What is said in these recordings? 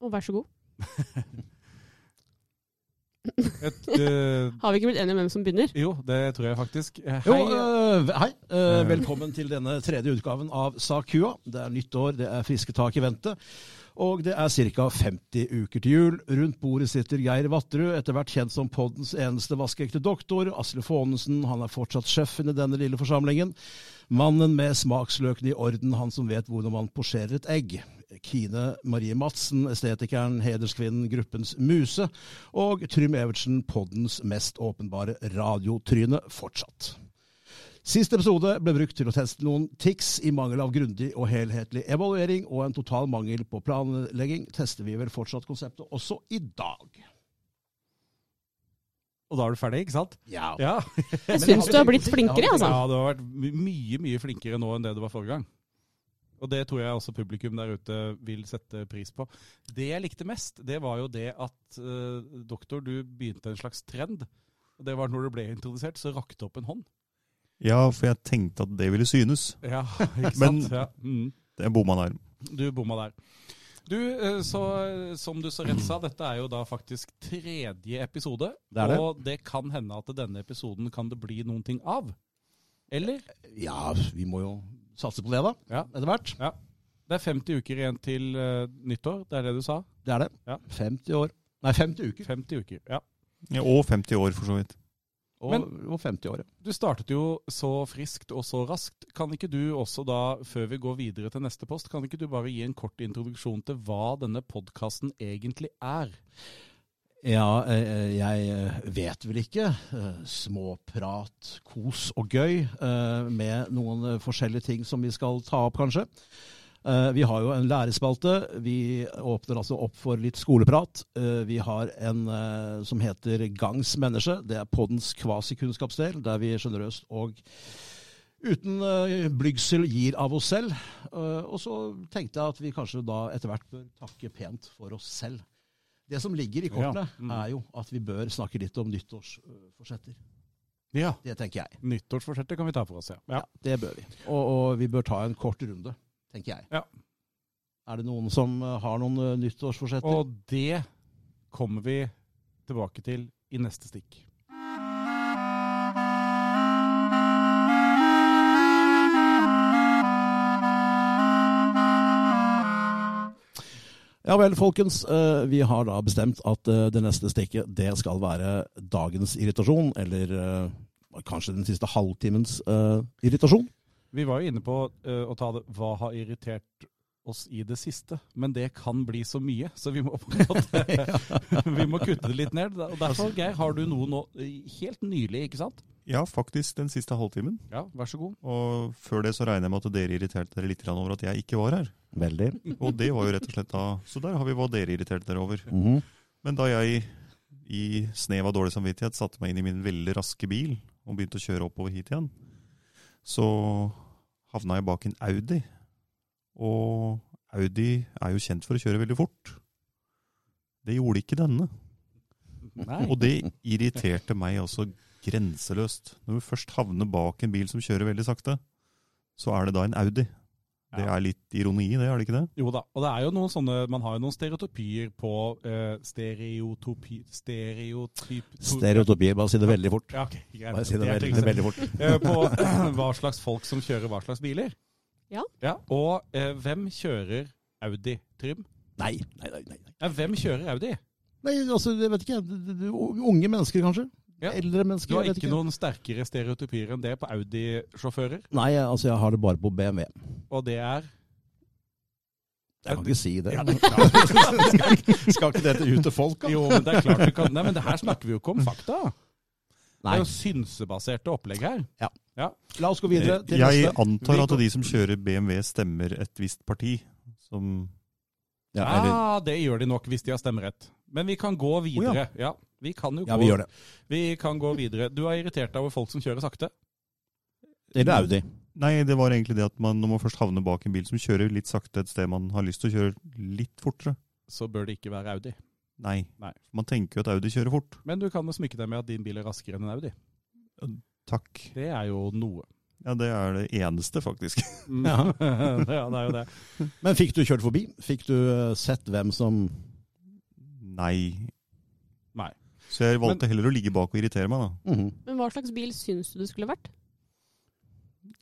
og vær så god. Et, eh, Har vi ikke blitt enige om hvem som begynner? jo, det tror jeg faktisk. Eh, Jo, Hei. eh, hei. Eh, velkommen til denne tredje utgaven av Sakua. Det er nytt år, det er friske tak i vente. Og det er ca. 50 uker til jul. Rundt bordet sitter Geir Vatterud, etter hvert kjent som poddens eneste vaskeekte doktor. Asle Fonesen, han er fortsatt sjefen i denne lille forsamlingen. Mannen med smaksløkene i orden, han som vet hvordan man posjerer et egg. Kine Marie Madsen, estetikeren, hederskvinnen, gruppens muse. Og Trym Evertsen, poddens mest åpenbare radiotryne fortsatt. Sist episode ble brukt til å teste noen tics i mangel av grundig og helhetlig evaluering og en total mangel på planlegging, tester vi vel fortsatt konseptet også i dag. Og da er du ferdig, ikke sant? Ja. Ja. Jeg Men syns jeg du har har blitt ikke- flinkere, altså. Ja, du har vært my- mye, mye flinkere nå enn det du var forrige gang. Og det tror jeg også publikum der ute vil sette pris på. Det jeg likte mest, det var jo det at eh, doktor, du begynte en slags trend. Og Det var når du ble introdusert, så rakte opp en hånd. Ja, for jeg tenkte at det ville synes. Ja, ikke sant? Men- ja. Mm. Det bomma der. Du bomma der. Du, eh, så, eh, som du så rett sa, dette er jo da faktisk tredje episode. Det er det. Og det kan hende at denne episoden kan det bli noen ting av. Eller? Ja, vi må jo satse på det, da. Ja. Etter hvert. Det er 50 uker igjen til eh, nyttår, det er det du sa? Det er det. Ja. 50 år. Nei, 50 uker. 50 uker, ja. Ja, og 50 år, for så vidt. Og, Men- og 50 år, ja. Du startet jo så friskt og så raskt. Kan ikke du også da, før vi går videre til neste post, kan ikke du bare gi en kort introduksjon til hva denne podkasten egentlig er? Ja, eh, jeg eh, vet vel ikke. Eh, Småprat, kos og gøy eh, med noen eh, forskjellige ting som vi skal ta opp, kanskje. Eh, Vi har jo en lærespalte. Vi åpner altså opp for litt skoleprat. Eh, Vi har en eh, som heter Gangs menneske. Det er poddens kvasikunnskapsdel, der vi sjenerøst og uten eh, blygsel gir av oss selv. Eh, Og så tenkte jeg at vi kanskje da etter hvert bør takke pent for oss selv. Det som ligger i kortene, Ja, mm. er jo at vi bør snakke litt om nyttårsforsetter. Ja. Det tenker jeg. Nyttårsforsettet kan vi ta for oss, ja. ja. Det bør vi. Og, og vi bør ta en kort runde, tenker jeg. Ja. Er det noen som eh, har noen eh, nyttårsforsetter? Og det kommer vi tilbake til i neste stikk. Ja vel, folkens. eh, Vi har da bestemt at eh, det neste stikket det skal være dagens irritasjon, eller eh, kanskje den siste halvtimens eh, irritasjon. Vi var jo inne på eh, å ta det Hva har irritert oss i det siste? Men det kan bli så mye, så vi må, på en måte, vi må kutte det litt ned. Og derfor, Geir, har du noe nå eh, helt nylig, ikke sant? Ja, faktisk den siste halvtimen. Ja, vær så god. Og før det så regner jeg med at dere irriterte dere litt grann over at jeg ikke var her. Veldig. Og det var jo rett og slett da Så der har vi hva dere irriterte dere over. Mhm. Men da jeg i snev av dårlig samvittighet satte meg inn i min veldig raske bil og begynte å kjøre oppover hit igjen, så havna jeg bak en Audi. Og Audi er jo kjent for å kjøre veldig fort. Det gjorde ikke denne. Nei. Og det irriterte meg altså grenseløst. Når du først havner bak en bil som kjører veldig sakte, så er det da en Audi. Det Ja. er litt ironi, det, er det ikke det? Jo da. Og det er jo noen sånne Man har jo noen stereotypier på eh, stereotopi... Stereotyp... Stereotopier. Bare si det veldig fort. Ja, ok, greit. Bare si det Jeg veldig, tenkte- veldig fort. Eh, på hva slags folk som kjører hva slags biler. Ja. og eh, hvem kjører Audi, Trym? Nei, nei, nei. nei. Ja, hvem kjører Audi? Nei, altså, jeg vet ikke. du- du- Unge mennesker, kanskje? Ja. Eldre mennesker? Du har jeg vet ikke noen sterkere stereotypier enn det på Audi-sjåfører, Nei, altså, jeg har det bare på BMW. og det er Jeg kan ikke si det. Ja, men- Skal ikke dette ut til folk, Jo, men det er klart du kan Nei, men det her snakker vi jo ikke om fakta. Det Nei. er jo synsebaserte opplegg her. La oss gå videre til Jeg neste. antar Vi at går- de som kjører BMW, stemmer et visst parti. Som Ja, eller, ah, det gjør de nok hvis de har stemmerett. Men vi kan gå videre. ja. vi kan jo gå, ja, vi gjør det. Vi kan gå videre. Du er irritert over folk som kjører sakte. Eller Audi. Nei, det var egentlig det at man, når man først havner bak en bil som kjører litt sakte et sted man har lyst til å kjøre litt fortere Så bør det ikke være Audi. Nei. Nei. Man tenker jo at Audi kjører fort. Men du kan jo smykke deg med at din bil er raskere enn en Audi. Takk. Det er jo noe. Ja, det er det eneste, faktisk. Mm. ja, det er jo det. Men fikk du kjørt forbi? Fikk du eh, sett hvem som Nei. Nei. Så jeg valgte heller å ligge bak og irritere meg, da. Mhm. Men hva slags bil syns du det skulle vært?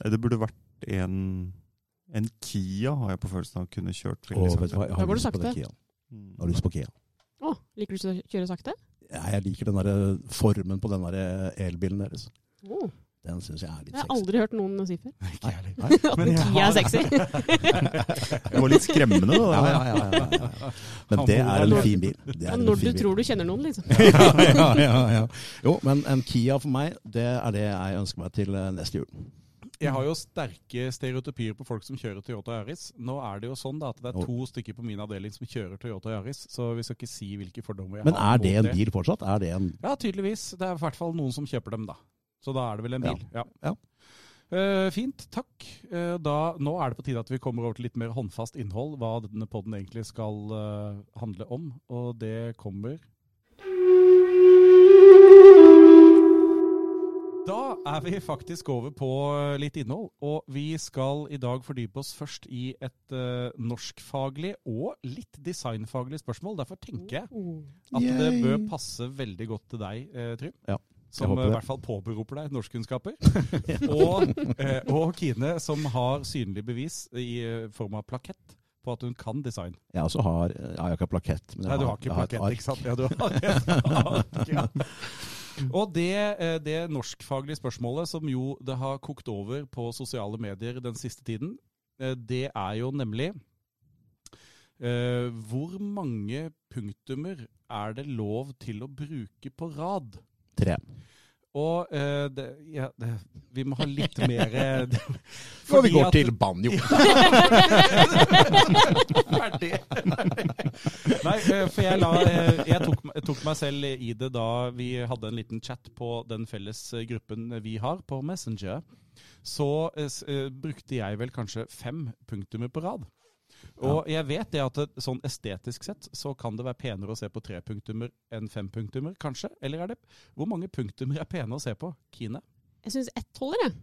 Nei, Det burde vært en, en Kia, har jeg på følelsen av kunne kjørt veldig Og vet du sakte. hva, jeg Da har går lyst det på den sakte. Kiaen. Mm. Jeg har lyst på Kia. Å, liker du ikke å kjøre sakte? Ja, jeg liker den der formen på den der elbilen deres. Oh. Den syns jeg er litt Jeg har sexy. aldri hørt noen si før. Nei, nei. At Men en jeg Kia har- er sexy. Det var litt skremmende, da. Ja, ja, ja, ja, ja, ja. Men det er en fin bil. Det er Ja, en Når du fin bil. tror du kjenner noen, liksom. ja, ja, ja, ja. Jo, men en Kia for meg, det er det jeg ønsker meg til eh, neste jul. Jeg har jo sterke stereotypier på folk som kjører Toyota Yaris. Nå er det jo sånn da at det er to stykker på min avdeling som kjører Toyota Yaris, så vi skal ikke si hvilke fordommer jeg Men har. er det mot en bil fortsatt? Er det en Ja, tydeligvis. Det er i hvert fall noen som kjøper dem, da. Så da er det vel en bil. Ja. Ja. Eh, fint, takk. Eh, da, nå er det på tide at vi kommer over til litt mer håndfast innhold, hva denne poden egentlig skal eh, handle om. Og det kommer Da er vi faktisk over på eh, litt innhold, og vi skal i dag fordype oss først i et eh, norskfaglig og litt designfaglig spørsmål. Derfor tenker jeg Oh. at det Yay. bør passe veldig godt til deg, eh, Trym. Ja, Som håper eh, i det. hvert fall påberoper deg norskkunnskaper. og, eh, og Kine, som har synlig bevis i eh, form av plakett på at hun kan design. Jeg også har eh, Ja, jeg har ikke plakett. Men jeg Nei, du har ikke jeg et plakett, ark. ikke sant? Ja, du har et ark, ja. Og det, eh, det norskfaglige spørsmålet som jo det har kokt over på sosiale medier den siste tiden, eh, det er jo nemlig eh, Hvor mange punktummer er det lov til å bruke på rad? Tre. Og eh, det, ja, det, vi må ha litt mer eh, Og vi fordi går at- til banjo. Ferdig. Nei, eh, for jeg, la, eh, jeg tok, jeg tok meg selv i det da vi hadde en liten chat på den felles eh, gruppen vi har på Messenger. Så eh, s- eh, brukte jeg vel kanskje fem punktumer på rad. Og jeg vet det at det, sånn estetisk sett så kan det være penere å se på tre punktumer enn fem punktumer, kanskje? Eller er det Hvor mange punktumer er pene å se på? Kine? Jeg syns ett holder, jeg.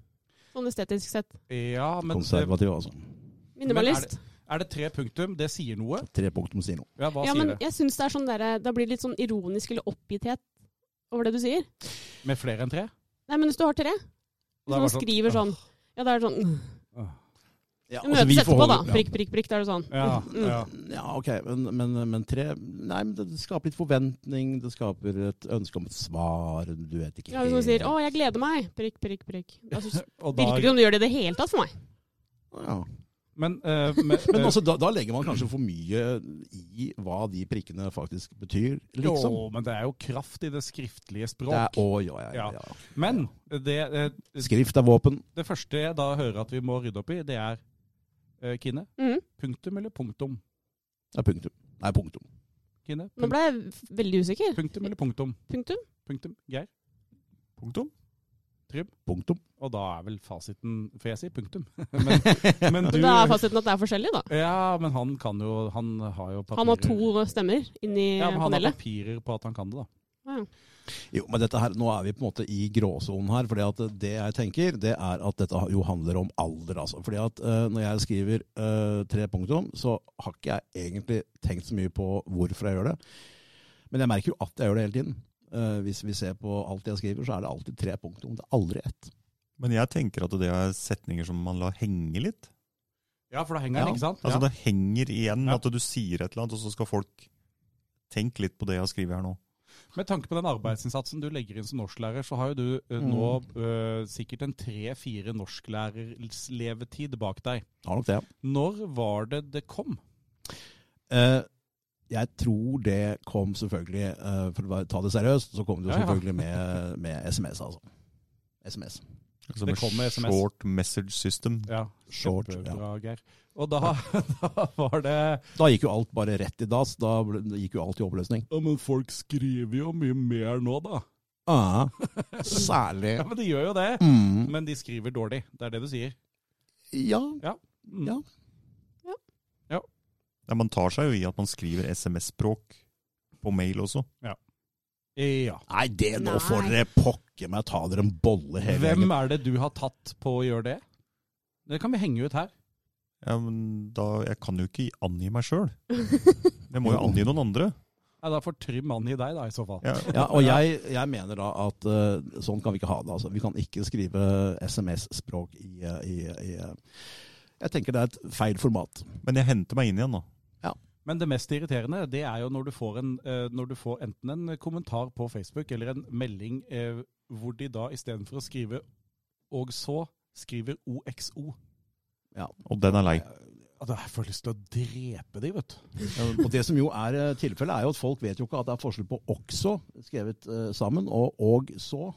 Sånn estetisk sett. Ja, men eh, Konservativ, altså. Minimalist. er det tre punktum? Det sier noe. Tre punktum sier noe. Ja, hva Ja, sier men det? jeg syns det er sånn derre Da blir det litt sånn ironisk eller oppgitthet over det du sier. Med flere enn tre? Nei, men hvis du har tre Hvis Da er man det sånn, skriver sånn Ja, da er det sånn Ah. Ja, Vi altså, møtes etterpå, da. Prikk, prikk, prikk. Da er det sånn. Ja, ja. Ja, ok, men, men, men tre Nei, men det skaper litt forventning. Det skaper et ønske om et svar. Du vet ikke Ja, Hvis man sier 'Å, jeg gleder meg', prikk, prikk, prikk. Da synes- Og virker det ikke da, som du gjør det i det hele tatt for meg. Ja. men, eh, men, Men altså, da, da legger man kanskje for mye i hva de prikkene faktisk betyr, liksom. Jo, men det er jo kraft i det skriftlige Det er, språk. å, ja, ja, ja, ja. Men det, eh, Skrift er våpen. det første jeg da hører at vi må rydde opp i, det er eh, Kine, Mhm. punktum eller punktum? Det er punktum. Nei, punktum. Kine, Nå punktum, ble jeg f- veldig usikker. punktum eller punktum? Punktum. Punktum. Geir? Punktum. Punktum. Og da er vel fasiten For jeg sier punktum. Men, men du Men da er fasiten at det er forskjellig, da. Ja, men han kan jo Han har jo papirer. Han har to stemmer inni ja, men han har panelet. papirer på at han kan det, da. Jo, men dette her, nå er vi på en måte i gråsonen her, fordi at det jeg tenker, det er at dette jo handler om alder, altså. Fordi at eh, når jeg skriver eh, tre punktum, så har ikke jeg egentlig tenkt så mye på hvorfor jeg gjør det. Men jeg merker jo at jeg gjør det hele tiden. Eh, hvis vi ser på alt jeg skriver, så er det alltid tre punktum. Det er aldri ett. Men jeg tenker at det er setninger som man lar henge litt. Ja, for da henger han, Ja, ikke sant? Altså Det henger igjen Ja. at du sier et eller annet, og så skal folk tenke litt på det jeg har skrevet her nå. Med tanke på den arbeidsinnsatsen du legger inn som norsklærer, så har jo du eh, nå eh, sikkert en tre-fire norsklærers levetid bak deg. Har nok det. Når var det det kom? Eh, jeg tror det kom selvfølgelig, eh, for å bare ta det seriøst, så kom det jo Ja, ja. selvfølgelig med, med SMS, altså. SMS. Altså Det med kommer SMS. Short message system. Ja, Short, Kjempebra, Geir. Og da, da var det Da gikk jo alt bare rett i dass. Da ble- det gikk jo alt i oppløsning. Ja, men folk skriver jo mye mer nå, da. Ah, særlig. Ja, men de gjør jo det. Mm. Men de skriver dårlig. Det er det du sier. Ja. Mm. Ja. Ja, man tar seg jo i at man skriver SMS-språk på mail også. Mm. ja. Nei, det nå Nei. får dere pokker meg ta dere en bolle hele Hvem er det du har tatt på å gjøre det? Det kan vi henge ut her. Ja, men da, jeg kan jo ikke angi meg sjøl. Jeg må jo angi noen andre. Nei, da får Trym mannen i deg, da, i så fall. Ja. Ja, og jeg, jeg mener da at eh, sånn kan vi ikke ha det. Altså. Vi kan ikke skrive SMS-språk i, eh, i, i eh, Jeg tenker det er et feil format. Men jeg henter meg inn igjen nå. Men det mest irriterende det er jo når du får, en, eh, når du får enten en kommentar på Facebook eller en melding eh, hvor de da istedenfor å skrive 'og så' skriver 'OXO'. Og den er lei. Altså, jeg får lyst til å drepe de, vet du. Og det som jo er eh, tilfellet, er jo at folk vet jo ikke at det er forskjell på også, skrevet eh, sammen, og og så.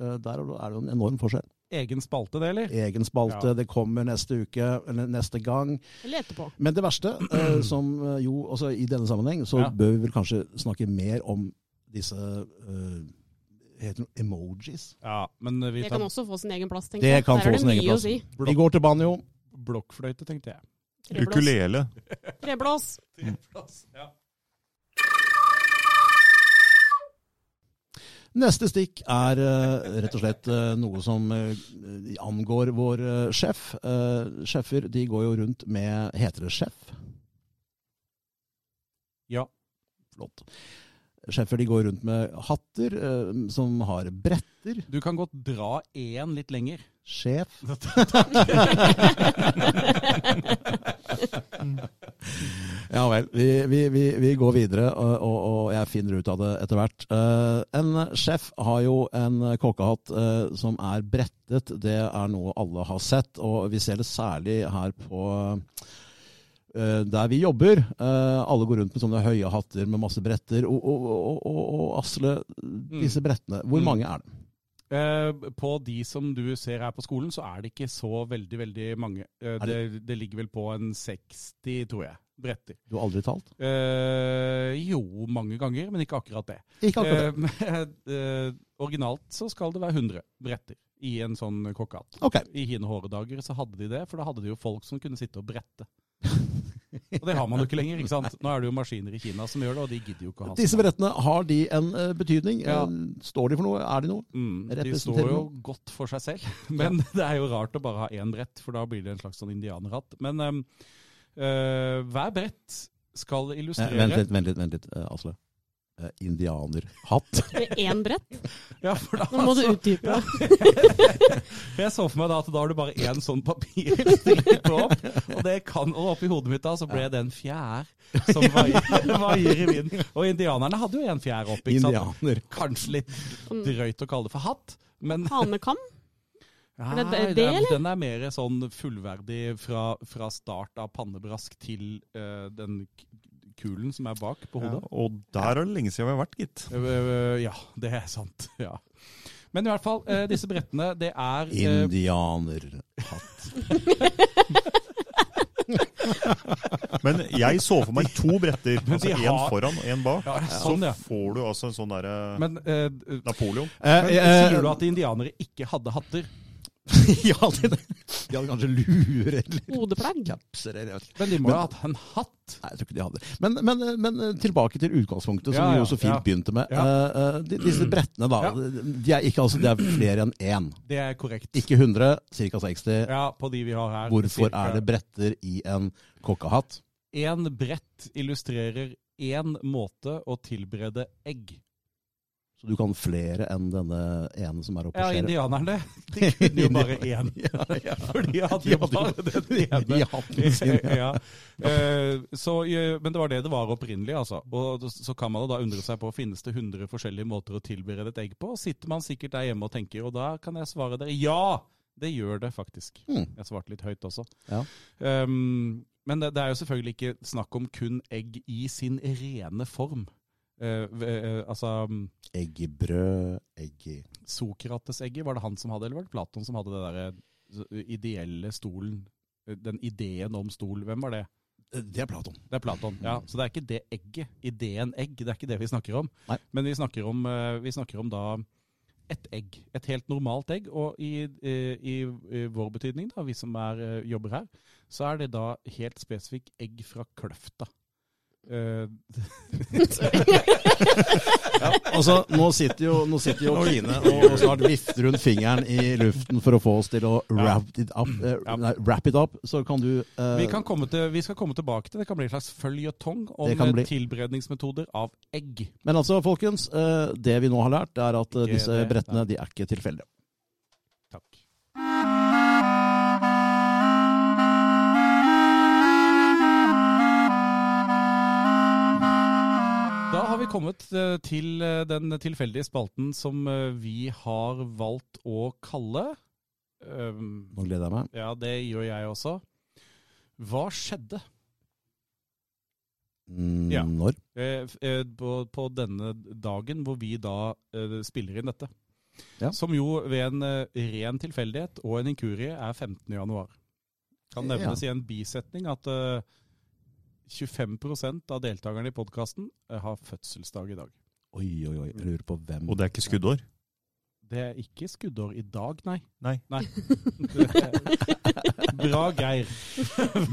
Eh, Der er det jo en enorm forskjell. Egen spalte, det, eller? Egen spalte, Ja. det kommer neste uke, eller neste gang. Eller etterpå. Men det verste, eh, som eh, jo også i denne sammenheng, så Ja. bør vi vel kanskje snakke mer om disse eh, Heter det emojis? Ja, men vi Det tar kan også få sin egen plass, tenker Det jeg. kan Der få er det sin egen mye plass. å si. Vi går til banjo. blokkfløyte, tenkte jeg. Treblås. Ukulele. Treblås. Neste stikk er eh, rett og slett eh, noe som eh, angår vår eh, sjef. Eh, sjefer de går jo rundt med Heter det sjef? Ja. Flott. Sjefer de går rundt med hatter eh, som har bretter. Du kan godt dra én litt lenger. Sjef. Mm. Ja vel. Vi, vi, vi, vi går videre, og, og, og jeg finner ut av det etter hvert. Eh, en sjef har jo en kokkehatt eh, som er brettet. Det er noe alle har sett, og vi ser det særlig her på eh, der vi jobber. Eh, alle går rundt med sånne høye hatter med masse bretter. Og, og, og, og, og Asle, disse brettene, hvor Mm. mange er det? Eh, på de som du ser her på skolen, så er det ikke så veldig, veldig mange. Eh, Er det, det- det ligger vel på en 60, tror jeg, bretter. Du har aldri talt? Eh, jo, mange ganger, men ikke akkurat det. Ikke akkurat det. Eh, eh, originalt så skal det være 100 bretter i en sånn kokkehatt. Ok. I hine håredager så hadde de det, for da hadde de jo folk som kunne sitte og brette. og det har man jo ikke lenger, ikke sant? Nå er det jo maskiner i Kina som gjør det, og de gidder jo ikke å ha sånn Disse brettene, har de en eh, betydning? Ja. Eh, Står de for noe? Er de noe? Mm, de Representerer står jo godt for seg selv, men det er jo rart å bare ha én brett, for da blir det en slags sånn indianerhatt. Men um, eh, hver brett skal Eh, illustrere Vent litt, vent litt, vent litt eh, Asle. Eh, Indianerhatt. Med én brett. Ja, for da, Nå må du altså, utdype. Jeg så for meg da at da har du bare én sånn papir strikket opp, og det kan Og oppi hodet mitt da så ble det en fjær som vaier vaier i vinden. Og indianerne hadde jo en fjær opp, ikke sant? Indianer. Kanskje litt drøyt å kalle det for hatt, men Hanekam. Nei, det det- det, den- eller? Den er mer sånn fullverdig fra, fra start av pannebrask til eh, den k- kulen som er bak på Ja, hodet. og der er det lenge siden vi har vært, gitt. Eh, eh, ja, det er sant. Ja. Men i hvert fall, eh, disse brettene, det er eh, Indianerhatt. Men jeg så for meg to bretter. Men de Altså én har- foran og én bak. ja, Så Sånn, ja. får du altså en sånn derre Men, eh, d- Napoleon. Eh, men sier du at indianere ikke hadde hatter? ja, de, de hadde kanskje luer eller Hodeplagg. kapser eller jeg vet ikke. Men de må jo ha hatt en hatt? Nei, jeg tror ikke de hadde det. Men, men, men eh, tilbake til utgangspunktet, som Ja, ja, vi jo så fint ja. Mm. begynte med. Eh, eh, de, disse brettene, da. Ja. De er ikke altså, det er flere enn én. Det er korrekt. Ikke 100, ca. 60. Ja, på de vi har her. Hvorfor Cirka. er det bretter i en kokkehatt? En brett illustrerer én måte å tilberede egg. Så du kan flere enn denne ene som er oppe Ja, og skjer. indianerne. De kunne jo bare én. Ja, ja. For de hadde De jo hadde bare den I ene. hatten sin. ja. ja. Eh, så, eh, men det var det det var opprinnelig, altså. Og d- så kan man jo da undre seg på finnes det 100 forskjellige måter å tilberede et egg på. Sitter man sikkert der hjemme og tenker, og da kan jeg svare dere ja! Det gjør det faktisk. Mm. Jeg svarte litt høyt også. Ja. Ehm, men det, det er jo selvfølgelig ikke snakk om kun egg i sin rene form. Eh, v- eh, altså Egg i brød, egg i Sokrates-egget, var det han som hadde, eller var det Platon som hadde det derre ideelle stolen? eh, Den ideen om stol, hvem var det? Det er Platon. Eh, Det er Platon. ja. Så det er ikke det egget, ideen egg, det er ikke det vi snakker om. Nei. Men vi snakker om, eh, vi snakker om da et egg. Et helt normalt egg. Og i, eh, i, eh, vår betydning, da, vi som er, eh, jobber her, så er det da helt spesifikt egg fra kløfta. Eh, Nei, Ja, og altså, nå sitter jo, nå sitter jo Kine og snart vifter hun fingeren i luften for å få oss til å wrap it up. eh, Ja. nei, wrap it up så kan du eh, Vi, kan komme til, vi skal komme tilbake til det. Det kan bli en slags føljetong om Det kan bli. eh, tilberedningsmetoder av egg. Men altså, folkens, eh, det vi nå har lært, er at eh, Ikke disse det, brettene de er ikke tilfeldige. Takk. Da har vi kommet eh, til eh, den tilfeldige spalten som eh, vi har valgt å kalle ehm, Nå gleder jeg meg. Ja, det gjør jeg også. Hva skjedde? Mm, Ja. Når? Eh, f- eh, på, på denne dagen hvor vi da eh, spiller inn dette. Ja. Som jo ved en eh, ren tilfeldighet og en inkurie er 15. januar. Kan Ja. nevnes i en bisetning at eh, 25 av deltakerne i podkasten har fødselsdag i dag. Oi, oi, oi. Jeg lurer på hvem Og det er ikke skuddår. Det er ikke skuddår i dag, nei. Nei. Bra, Geir.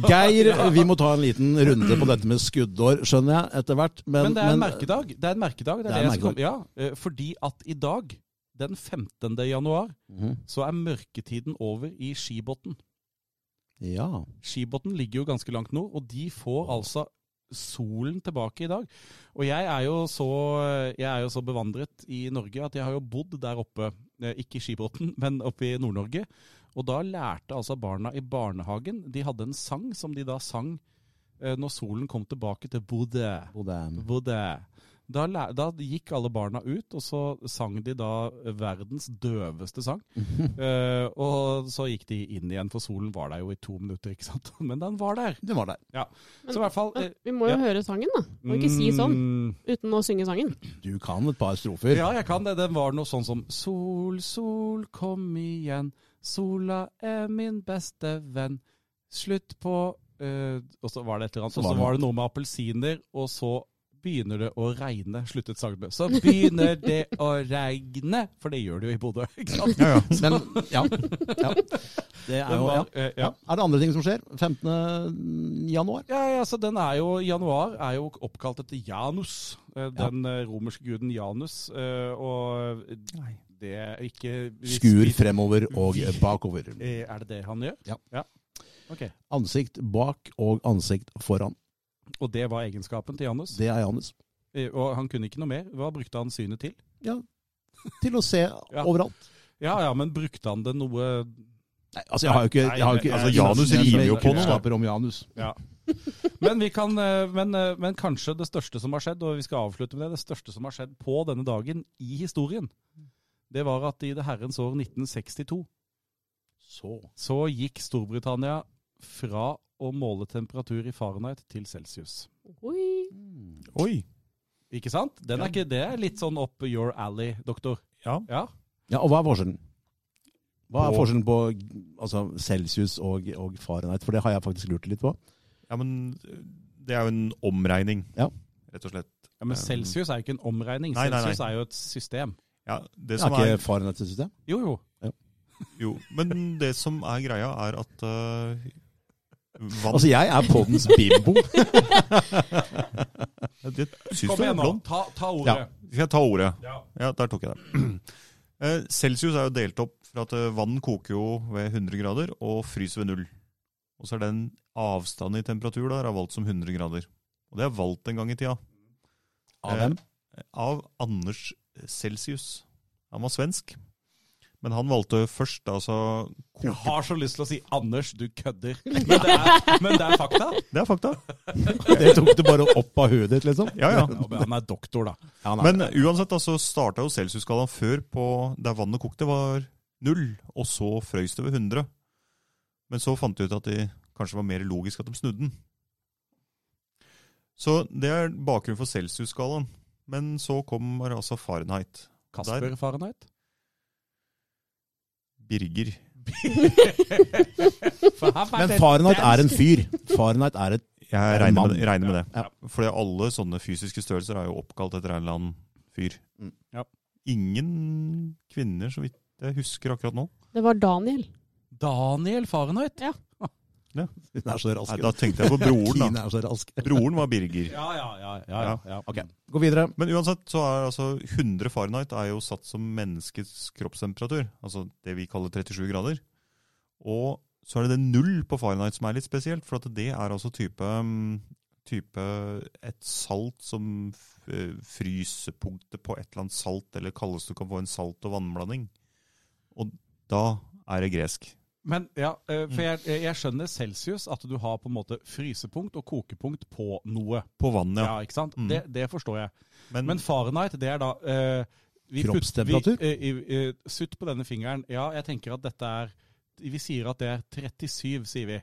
Geir, vi må ta en liten runde på dette med skuddår, skjønner jeg, etter hvert. Men, Men det er en men- merkedag. Det er en merkedag. Det er det en jeg skal- ja, eh, fordi at i dag, den 15. januar, Mhm. så er mørketiden over i Skibotn. Ja. Skibotn ligger jo ganske langt nord, og de får altså solen tilbake i dag. Og jeg er jo så, jeg er jo så bevandret i Norge at jeg har jo bodd der oppe, eh, ikke i Skibotn, men oppe i Nord-Norge. Og da lærte altså barna i barnehagen, de hadde en sang som de da sang eh, når solen kom tilbake til Bodø. Og det er Bodø. Da, læ- da gikk alle barna ut, og så sang de da verdens døveste sang. Eh, og så gikk de inn igjen, for solen var der jo i to minutter, ikke sant. Men den var der. Den var der. Så i hvert fall eh, Vi må jo Ja. høre sangen, da. Må ikke si sånn mm, uten å synge sangen. Du kan et par strofer. Ja, jeg kan det. Den var noe sånn som Sol, sol, kom igjen. Sola er min beste venn. Slutt på eh, Og så var det et eller annet. Så Og var så det var det noe med appelsiner, og så begynner det å regne, sluttet sangen med. Så begynner det å regne, for det gjør det jo i Bodø. ikke sant? Ja, ja. Men ja. ja. Det er Den jo ja. var, eh, ja. Ja. Er det andre ting som skjer? 15. januar? Ja, ja, så den er jo, Januar er jo oppkalt etter Janus, eh, den eh, romerske guden Janus. eh, Og det er ikke hvis Skur vi- fremover og bakover. eh, Er det det han gjør? Ja. Ok. Ansikt bak og ansikt foran. Og det var egenskapen til Janus. Det er Janus. Eh, Og han kunne ikke noe mer. Hva brukte han synet til? Til å se Ja. overalt. Ja ja, men brukte han det noe Nei, altså, jeg har jo ikke, jeg har jo ikke Nei, altså, Janus rimer jo på noe, da. Kunnskaper om Janus. Men, vi kan, eh, men, eh, men kanskje det største som har skjedd, og vi skal avslutte med det, det største som har skjedd på denne dagen i historien, det var at i det herrens år 1962 Så. så gikk Storbritannia fra å måle temperatur i Fahrenheit til celsius. Oi. Oi. Ikke sant? Den er ikke, det er litt sånn up your alley, doktor. Ja. Ja, Ja, og hva er forskjellen? Hva er På- forskjellen på altså, celsius og, og Fahrenheit? For det har jeg faktisk lurt litt på. ja, men det er jo en omregning, Ja. rett og slett. ja Men Um, celsius er jo ikke en omregning. Nei, nei, nei. Celsius er jo et system. Ja, det Er som ikke er, Fahrenheit et system? Jo, jo. jo, men det som er greia, er at eh, vann Altså, jeg er poddens bimbo. Det syns Kom du er igjen nå, blond. ta, ta Ja, ordet. skal jeg ta ordet? Ja. Ja, der tok jeg det. Eh, Celsius er jo delt opp for at eh, vann koker jo ved 100 grader og fryser ved null. Og så er den avstanden i temperatur der er valgt som 100 grader. Og det er valgt en gang i tida. Av hvem? Av Anders Celsius. Han var svensk. Men han valgte først altså Jeg koke... har så lyst til å si 'Anders, du kødder', men det er, men det er fakta. Det er fakta. Det tok du bare opp av hodet ditt, liksom? Ja, ja. Ja, men han er doktor, da. Ja, nei. Men uansett, da, så starta jo Celsius-skalaen før på der vannet kokte, var null, og så frøys det ved 100. Men så fant de ut at det kanskje var mer logisk at de snudde den. Så det er bakgrunnen for Celsius-skalaen. Men så kommer altså Fahrenheit. Kasper Der. Fahrenheit. Birger. Men Fahrenheit er en fyr. Fahrenheit er et Jeg en regner mann. med, det- regner med det. Ja. Fordi alle sånne fysiske størrelser er jo oppkalt etter en eller annen fyr. Mm. Ja. Ingen kvinner, så vidt jeg husker akkurat nå. Det var Daniel. Daniel Fahrenheit. Ja. Ja. Hun er så Nei, rask. da tenkte jeg på broren, da. Kine er så rask. Broren var Birger. Ja, ja, ja. ja, Ok, gå videre. Men uansett så er altså 100 Fahrenheit er jo satt som menneskets kroppstemperatur. Altså det vi kaller 37 grader. Og så er det det null på Fahrenheit som er litt spesielt, for at det er altså type, mm, type et salt som f- eh, frysepunktet på et eller annet salt, eller kalles du kan få en salt- og vannblanding. Og da er det gresk. Men ja, eh, Mm. for jeg, jeg skjønner celsius, at du har på en måte frysepunkt og kokepunkt på noe. På vann, Ja, ja. ikke sant? Mm. Det, det forstår jeg. Men, Men Fahrenheit, det er da eh, vi putt- Kroppstemperatur? vi, eh, i- eh, Sutt på denne fingeren. Ja, jeg tenker at dette er Vi sier at det er 37, sier vi.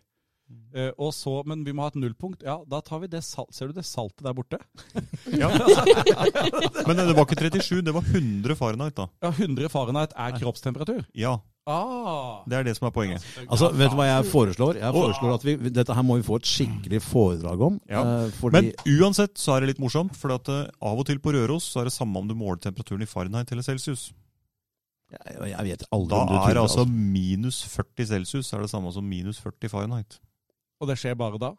Eh, og så, men vi må ha et nullpunkt. Ja, da tar vi det salt. Ser du det saltet der borte? ja. men det var ikke 37, det var 100 Fahrenheit, da. Ja, 100 Fahrenheit er kroppstemperatur. Ja, Ah. det er det som er poenget. Altså, Vet du hva jeg foreslår? Jeg foreslår at vi, Dette her må vi få et skikkelig foredrag om. Ja. eh, Fordi Men uansett så er det litt morsomt, for at eh, av og til på Røros så er det samme om du måler temperaturen i Fahrenheit eller celsius. jeg, jeg vet aldri Da om du er tuller, det altså minus 40 celsius er det samme som minus 40 Fahrenheit. Og det skjer bare da?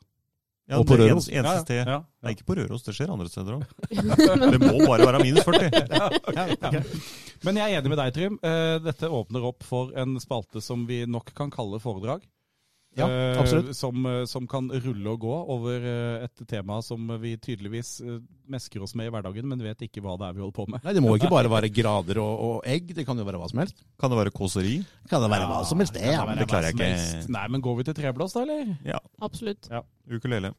Ja, Og på det er Røros? en- Eneste sted. Ja, ja. Nei, ikke på Røros, det skjer andre steder òg. Det må bare være minus 40. Men jeg er enig med deg, Trym. Eh, Dette åpner opp for en spalte som vi nok kan kalle foredrag. Ja, Eh, absolutt. Som, eh, som kan rulle og gå over eh, et tema som vi tydeligvis eh, mesker oss med i hverdagen, men vet ikke hva det er vi holder på med. Nei, Det må ikke bare være grader og, og egg, det kan jo være hva som helst. Kan det være kåseri? Kan det være hva som helst, det. Ja, men det klarer jeg ikke. Nei, men går vi til treblås da, eller? Ja. Absolutt. Ukulele.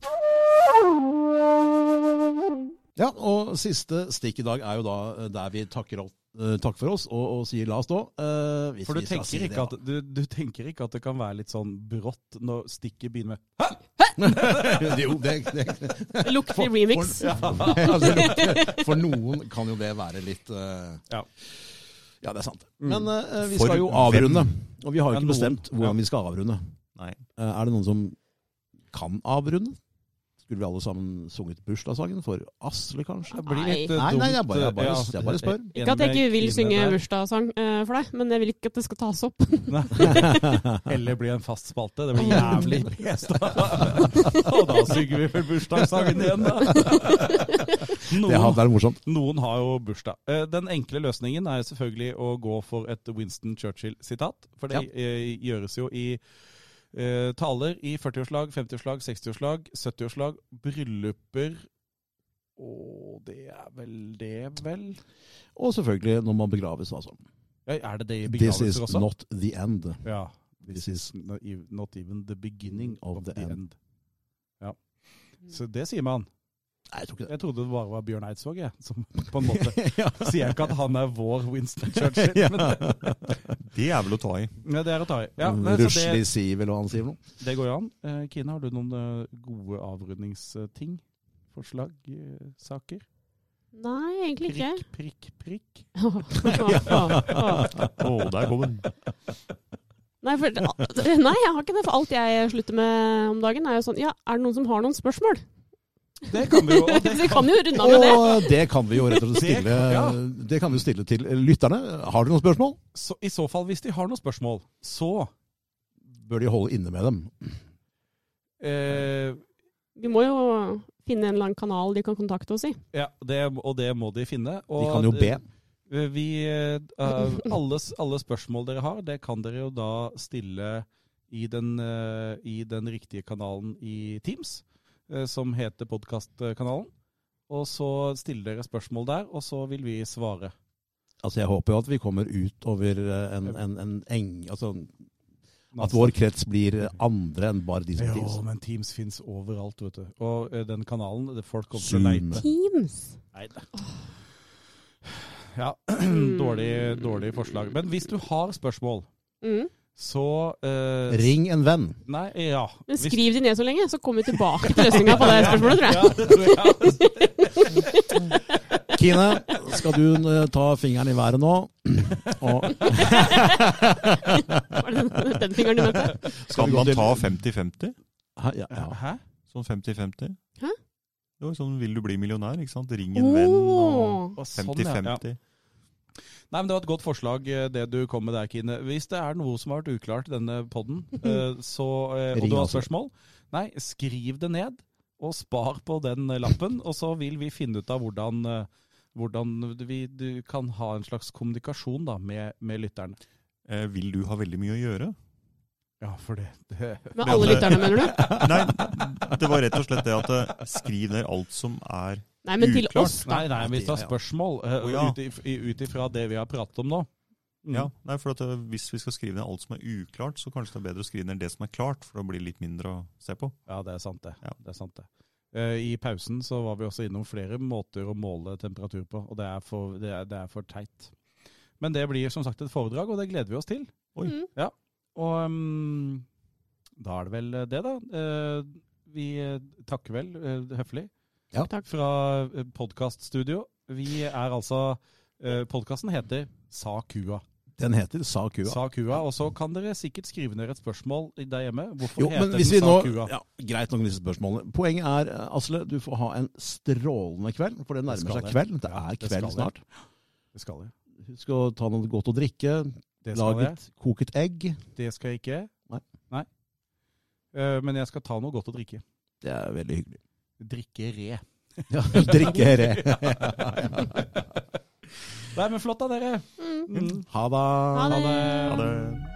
Ja, og siste stikk i dag er jo da eh, der vi takker opp. eh, Takk for oss, og, og sier la oss stå. eh, hvis For du vi skal tenker, si det, ikke da. at, du, du tenker ikke at det kan være litt sånn brått når stikket begynner med Jo, det, det, det. Lukter remix. altså, det- For noen kan jo det være litt eh, Ja. ja, det er sant. Men eh, vi For skal jo hvem? avrunde. Og vi har jo Men ikke noen- bestemt ja. hvordan vi skal avrunde. Nei. Eh, Er det noen som kan avrunde? Skulle vi alle sammen sunget bursdagssangen for Asle, kanskje? Det blir litt eh, Nei, dumt. nei, jeg bare- jeg bare- eh, jeg bare spør. en Ikke at jeg med ikke vil kine synge der. bursdagssang eh, for deg, men jeg vil ikke at det skal tas opp. Eller bli en fast spalte. Det blir jævlig pest. Og da synger vi vel bursdagssangen igjen, da. Det hadde Noen, vært morsomt. noen har jo bursdag. Eh, Den enkle løsningen er selvfølgelig å gå for et Winston Churchill-sitat. For det eh, gjøres jo i eh, taler i 40-årslag, 50-årslag, 60-årslag, 70-årslag, brylluper Å, det er vel det, vel? Og selvfølgelig når man begraves, altså. Ja, er det det i This is begravelser også? not the end. ja. This is no- ev- not even the beginning Of of, the the, end. end. Ja. Så det sier man. Nei, jeg tror ikke det. Jeg trodde det bare var Bjørn Eidsvåg, jeg. Som på en måte ja. Sier jeg ikke at han er vår Winston Churchill, Ja. men Det er vel å ta i. ja, det er å ta i. Ja, Mm. men så Rushdie det, sier vel hva han sier for noe. det går jo an. Eh, Kine, har du noen eh, gode avrundingsting? Forslag? eh, Saker? Nei, egentlig ikke. Prikk, prikk, prikk. Å, der kom den. Nei, for, nei, jeg har ikke det. For alt jeg slutter med om dagen, er jo sånn Ja, er det noen som har noen spørsmål? Det kan vi jo. og Så vi kan jo runde av med det. Og det kan vi jo rett og slett Det- stille, ja. det kan vi jo stille til lytterne. Har du noen spørsmål, Så, I så fall, hvis de har noen spørsmål, så bør de holde inne med dem. eh, Vi må jo finne en eller annen kanal de kan kontakte oss i. Ja, det, og det må de finne. Og De kan jo be. Eh, Vi, eh, alle, alle spørsmål dere har, det kan dere jo da stille i den, eh, i den riktige kanalen i Teams, eh, som heter podkastkanalen. Og så stiller dere spørsmål der, og så vil vi svare. Altså, jeg håper jo at vi kommer ut over eh, en, en, en eng altså, At vår krets blir andre enn bare de som Jo, finnes. men Teams fins overalt, vet du. Og eh, den kanalen, det- folk kommer til å Zoom. leite. Teams. Nei, det- Ja, dårlig, dårlig forslag. Men hvis du har spørsmål, Mm. så eh, Ring en venn. Nei, ja. Men Hvis- skriv de ned så lenge, så kommer vi tilbake til løsninga på det spørsmålet, tror jeg. Ja, det tror jeg. Kine, skal du eh, ta fingeren i været nå? Og Var det den, den fingeren du mente? Skal man ta 50-50? Hæ? Ja, ja. Hæ? Sånn 50-50? Hæ? Det var jo sånn 'vil du bli millionær', ikke sant? Ring en venn og Åh. Og sånn, ja. 50-50. Ja. Nei, men Det var et godt forslag, eh, det du kom med der, Kine. Hvis det er noe som har vært uklart i denne podden, eh, så, eh, og Ring du har altså. spørsmål, nei, skriv det ned. Og spar på den eh, lappen, og så vil vi finne ut av hvordan, eh, hvordan vi, du kan ha en slags kommunikasjon da, med, med lytterne. Eh, vil du ha veldig mye å gjøre? Ja, for det, det Med alle lytterne, mener du? Nei, det var rett og slett det at eh, skriv ned alt som er Nei, men til Uklart. oss, da. Nei, nei, hvis du har Ja, ja. spørsmål eh, Å, ja. ut if- i- ut ifra det vi har pratet om nå. Mm. Ja, nei, for at eh, Hvis vi skal skrive ned alt som er uklart, så kanskje det er bedre å skrive ned det som er klart, for da blir det litt mindre å se på. Ja, det er sant det. Ja. det, er sant det. Eh, I pausen så var vi også innom flere måter å måle temperatur på, og det er for, det er, det er for teit. Men det blir som sagt et foredrag, og det gleder vi oss til. Oi. Mm. Og mm, da er det vel det, da. Eh, vi eh, takker vel eh, høflig Ja. Takk. fra eh, podkaststudio. Vi er altså eh, Podkasten heter Sa kua. Den heter Sa kua. Sa kua, og så kan dere sikkert skrive ned et spørsmål i- der hjemme. Hvorfor Jo, heter men den hvis vi Sa nå, kua? ja, Greit nok med disse spørsmålene. Poenget er, eh, Asle, du får ha en strålende kveld. For det skal nærmer seg jeg. kveld. Det Ja, er det kveld skal jeg. snart. Det skal jeg. Husk å ta noe godt å drikke. Det skal Lag jeg. et koket egg. Det skal jeg ikke. Nei. Eh, men jeg skal ta noe godt å drikke. Det er veldig hyggelig. Drikke re. Ja, drikke re. Nei, men flott da, dere. Mm. Mm. Ha det. Ha det. Ha det.